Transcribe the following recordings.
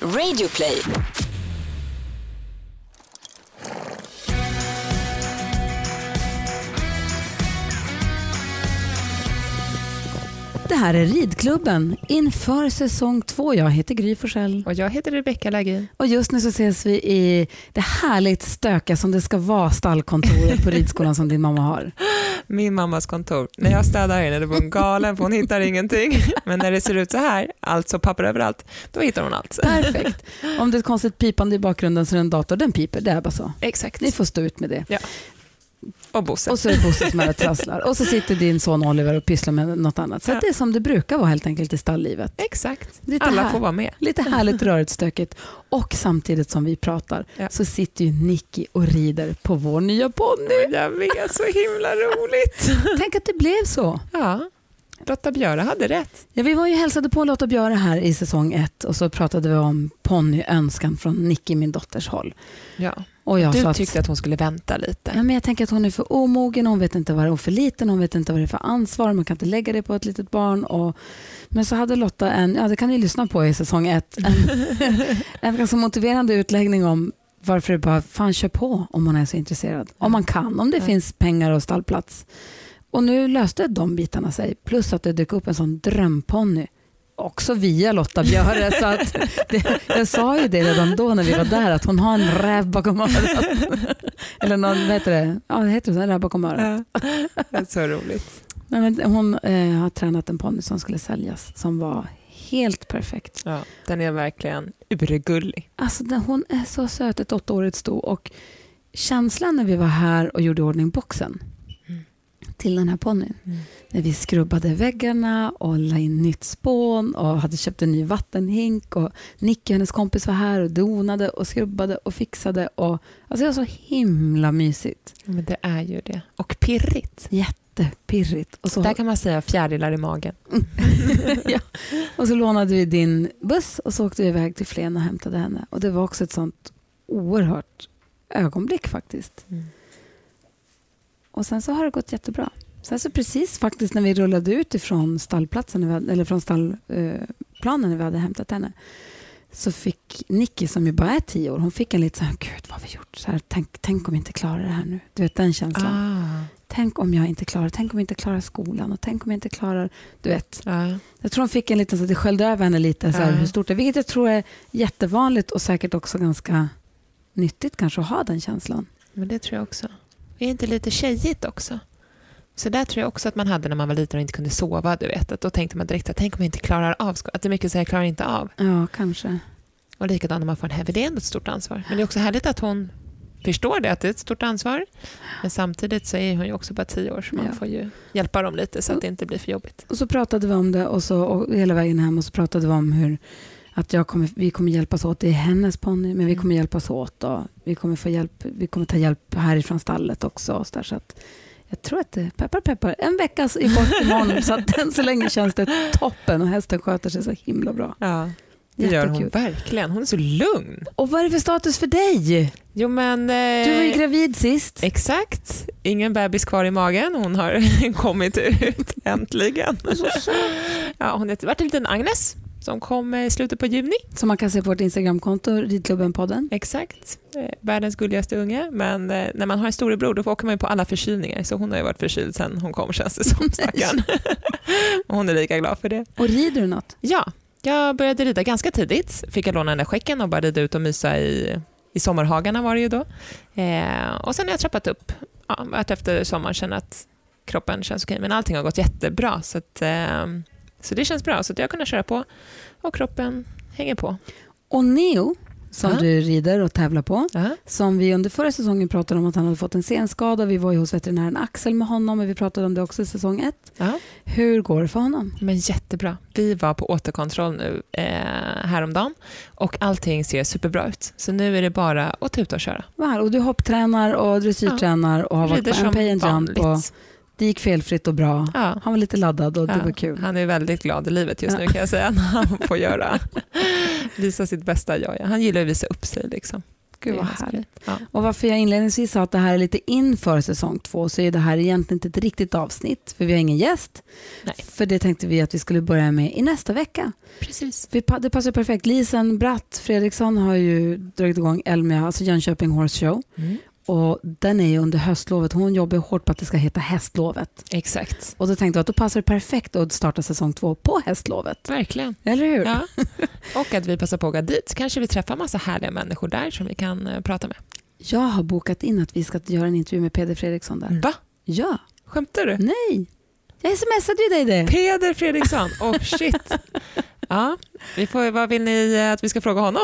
Radioplay. Det här är Ridklubben inför säsong två. Jag heter Gry Forssell. Och jag heter Rebecka Lagin. Och just nu så ses vi i det härligt stökiga som det ska vara stallkontoret på ridskolan som din mamma har. Min mammas kontor. När jag städar henne då är hon galen för hon hittar ingenting. Men när det ser ut så här, alltså papper överallt, då hittar hon allt. Perfekt. Om det är ett konstigt pipande i bakgrunden så är det en dator. Den piper, det är bara så. Exakt. Ni får stå ut med det. Och Bosse. Och så är det Bosse som är och trasslar. Och så sitter din son Oliver och pysslar med något annat. Så att det är som det brukar vara helt enkelt i stalllivet. Exakt. Lite Alla här- får vara med. Lite härligt rörigt stökigt. Och samtidigt som vi pratar Ja. så sitter ju Nicky och rider på vår nya ponny. Jag vet, så himla roligt. Tänk att det blev så. Ja, Lotta Björe hade rätt. Ja, vi var ju hälsade på Lotta Björe här i säsong ett och så pratade vi om ponnyönskan från Nicky, min dotters håll. Ja. Och jag sa Du att, tyckte att hon skulle vänta ja, lite. men jag tänker att hon är för omogen, hon vet inte vad det är, och för liten, hon vet inte vad det är för ansvar, man kan inte lägga det på ett litet barn. Och, men så hade Lotta en, ja det kan ni lyssna på i säsong ett, en, en ganska motiverande utläggning om varför det bara, fan kör på om man är så intresserad. Om man kan, om det Ja. finns pengar och stallplats. Och nu löste de bitarna sig, plus att det dök upp en sån drömponny. Också via Lotta Björe. så att det, jag sa ju det redan då när vi var där, att hon har en räv bakom örat. Eller någon, vad heter det? Ja, det heter det, en räv bakom örat. Ja. Det är så roligt. Nej, men hon eh, har tränat en ponny som skulle säljas, som var helt perfekt. Ja. Den är verkligen urgullig. Alltså, den- hon är så söt, ett åttaårigt sto. Och känslan när vi var här och gjorde i ordning boxen Mm. till den här ponnyn. Mm. När vi skrubbade väggarna och la in nytt spån och hade köpt en ny vattenhink. Och Nicky och hennes kompis var här och donade och skrubbade och fixade. Och, alltså det var så himla mysigt. Men det är ju det. Och pirrigt. Jättepirrigt. Och så, Där kan man säga fjärilar i magen. ja. och så lånade vi din buss och så åkte vi iväg till Flen och hämtade henne. Och det var också ett sånt oerhört ögonblick faktiskt. Och sen så har det gått jättebra. Sen så precis faktiskt när vi rullade ut ifrån stallplatsen, när vi hade- eller från stallplanen när vi hade hämtat henne, så fick Nicky som ju bara är tio år, hon fick en lite så här, gud vad har vi gjort? Så här, tänk, tänk om vi inte klarar det här nu. Du vet den känslan. Ah. Tänk om jag inte klarar, tänk om jag inte klarar skolan och tänk om jag inte klarar, du vet. Ja. Jag tror hon fick en liten, så att det sköljde över henne lite, så här, Ja. hur stort det är. Vilket jag tror är jättevanligt och säkert också ganska nyttigt kanske att ha den känslan. Men det tror jag också. Det är inte lite tjejigt också. Så där tror jag också att man hade när man var liten och inte kunde sova. Du vet, att då tänkte man direkt att tänk om jag inte klarar av sko- Att det är mycket så jag klarar inte av. Ja, kanske. Och likadant när man får en heavy, det är ändå ett stort ansvar. Men det är också härligt att hon förstår det, att det är ett stort ansvar. Men samtidigt så är hon ju också bara tio år, så man Ja. Mm. får ju hjälpa dem lite så att det inte blir för jobbigt. Och så pratade vi om det och så, och hela vägen hem och så pratade vi om hur att jag kommer, vi kommer hjälpas åt. Det är hennes ponny, men vi Mm. kommer hjälpas åt. Och vi, kommer få hjälp, vi kommer ta hjälp härifrån stallet också. Och så där, så att jag tror att det peppar peppar. En vecka är bort imorgon, så att än så länge känns det toppen och hästen sköter sig så himla bra. Ja, det gör hon Jättekul. verkligen. Hon är så lugn. Och vad är det för status för dig? Jo, men... eh, Du var ju gravid sist. Exakt. Ingen bebis kvar i magen. Hon har kommit ut äntligen. Ja, hon har varit en liten Agnes som kom eh, i slutet på juni. Som man kan se på vårt Instagramkonto, Ridklubben-podden. Exakt. Eh, Världens gulligaste unge. Men eh, när man har en storebror då åker man ju på alla förkylningar. Så hon har ju varit förkyld sedan hon kom känns det som. Stackarn. Och hon är lika glad för det. Och rider du något? Ja, jag började rida ganska tidigt. Fick jag låna den där skäcken och bara rida ut och mysa i, i sommarhagarna var det ju då. Eh, och sen har jag trappat upp. Ja, att efter sommaren känner att kroppen känns okej. Men allting har gått jättebra. Så, att, eh, så det känns bra. Så att jag har kunnat köra på och kroppen hänger på. Och Neo, som Ja. du rider och tävlar på. Ja. som vi under förra säsongen pratade om att han hade fått en senskada. Vi var ju hos veterinären Axel med honom och vi pratade om det också i säsong ett. Ja. Hur går det för honom? Men jättebra. Vi var på återkontroll nu eh, häromdagen och allting ser superbra ut. Så nu är det bara att tuta och köra. Var? Och du hopptränar och dressyrtränar och har varit Rider på en pay and jump och det gick felfritt och bra. Ja. Han var lite laddad och det Ja, var kul. Han är väldigt glad i livet just Ja. nu kan jag säga när han får göra, visa sitt bästa jag. Ja. Han gillar att visa upp sig. Liksom. Gud Det är vad ganska härligt. Ja. Och varför jag inledningsvis sa att det här är lite inför säsong två så är det här egentligen inte ett riktigt avsnitt för vi har ingen gäst. Nej. För det tänkte vi att vi skulle börja med i nästa vecka. Precis. Vi, pa- det passar perfekt. Lisen Bratt Fredriksson har ju dragit igång Elmia, alltså Jönköping Horse Show. Mm. Och den är ju under höstlovet. Hon jobbar ju hårt på att det ska heta hästlovet. Exakt. Och då tänkte jag att då passar det perfekt att starta säsong två på hästlovet. Verkligen. Eller hur? Ja. Och att vi passar på att gå dit. Kanske vi träffar massa härliga människor där som vi kan eh, prata med. Jag har bokat in att vi ska göra en intervju med Peder Fredriksson där. Va? Ja, Skämtar du? nej. Mm. Jag smsade ju dig det. Peder Fredriksson. Oh shit. Ja, vi får, vad vill ni eh, att vi ska fråga honom?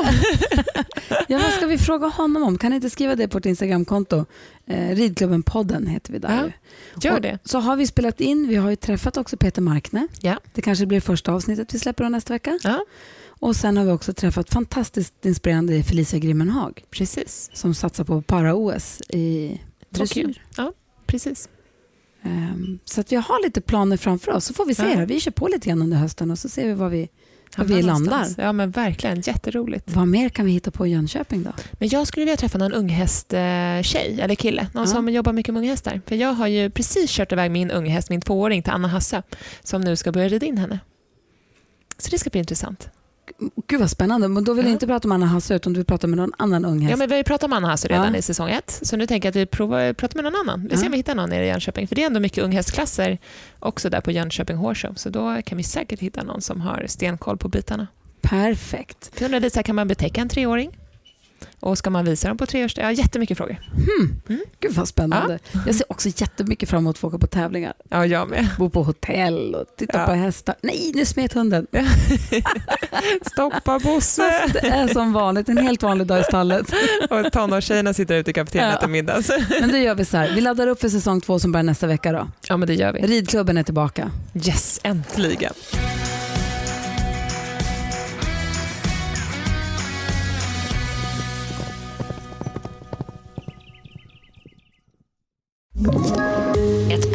Ja, vad ska vi fråga honom om? Kan ni inte skriva det på vårt Instagramkonto? Eh, Ridklubben-podden heter vi där. Ja, ju. Gör det. Så har vi spelat in, vi har ju träffat också Peter Markne. Ja. Det kanske blir första avsnittet vi släpper då nästa vecka. Ja. Och sen har vi också träffat fantastiskt inspirerande Felicia Grimmenhag Precis. som satsar på para-OS i dressyr. Ja, precis. Ehm, så att vi har lite planer framför oss, så får vi se. Ja. här. Vi kör på lite grann under hösten och så ser vi vad vi... Var vi Hamnar landar. någonstans. Ja, men verkligen. Jätteroligt. Vad mer kan vi hitta på i Jönköping då? Men jag skulle vilja träffa någon unghästtjej eller kille, någon Ja. som jobbar mycket med unghästar. För jag har ju precis kört iväg min unghäst, min tvååring, till Anna Hasse som nu ska börja rida in henne. Så det ska bli intressant. Gud vad spännande, men då vill Ja. jag inte prata om Anna Hasse utan du vill prata med någon annan ung häst. Ja, men vi har ju pratat om Anna Hasse redan Ja. i säsong ett, så nu tänker jag att vi provar, pratar med någon annan. Vi ser Ja. om vi hittar någon nere i Jönköping, för det är ändå mycket unghästklasser också där på Jönköping Horse Show, så då kan vi säkert hitta någon som har stenkoll på bitarna. Perfekt. Jag undrar lite, så här, kan man betäcka en treåring? Och ska man visa dem på treårs... Jag har jättemycket frågor. Gud vad spännande. Jag ser också jättemycket fram emot att få åka på tävlingar. Ja, jag med. Bo på hotell och titta Ja. på hästar. Nej, nu smet hunden. Stoppa Bosse! Fast det är som vanligt, en helt vanlig dag i stallet. Och tonårstjejerna sitter ute i kafeterian och Ja. äter middag. Men då gör vi så här, vi laddar upp för säsong två som börjar nästa vecka då. Ja, men det gör vi. Ridklubben är tillbaka. Yes, äntligen. Ett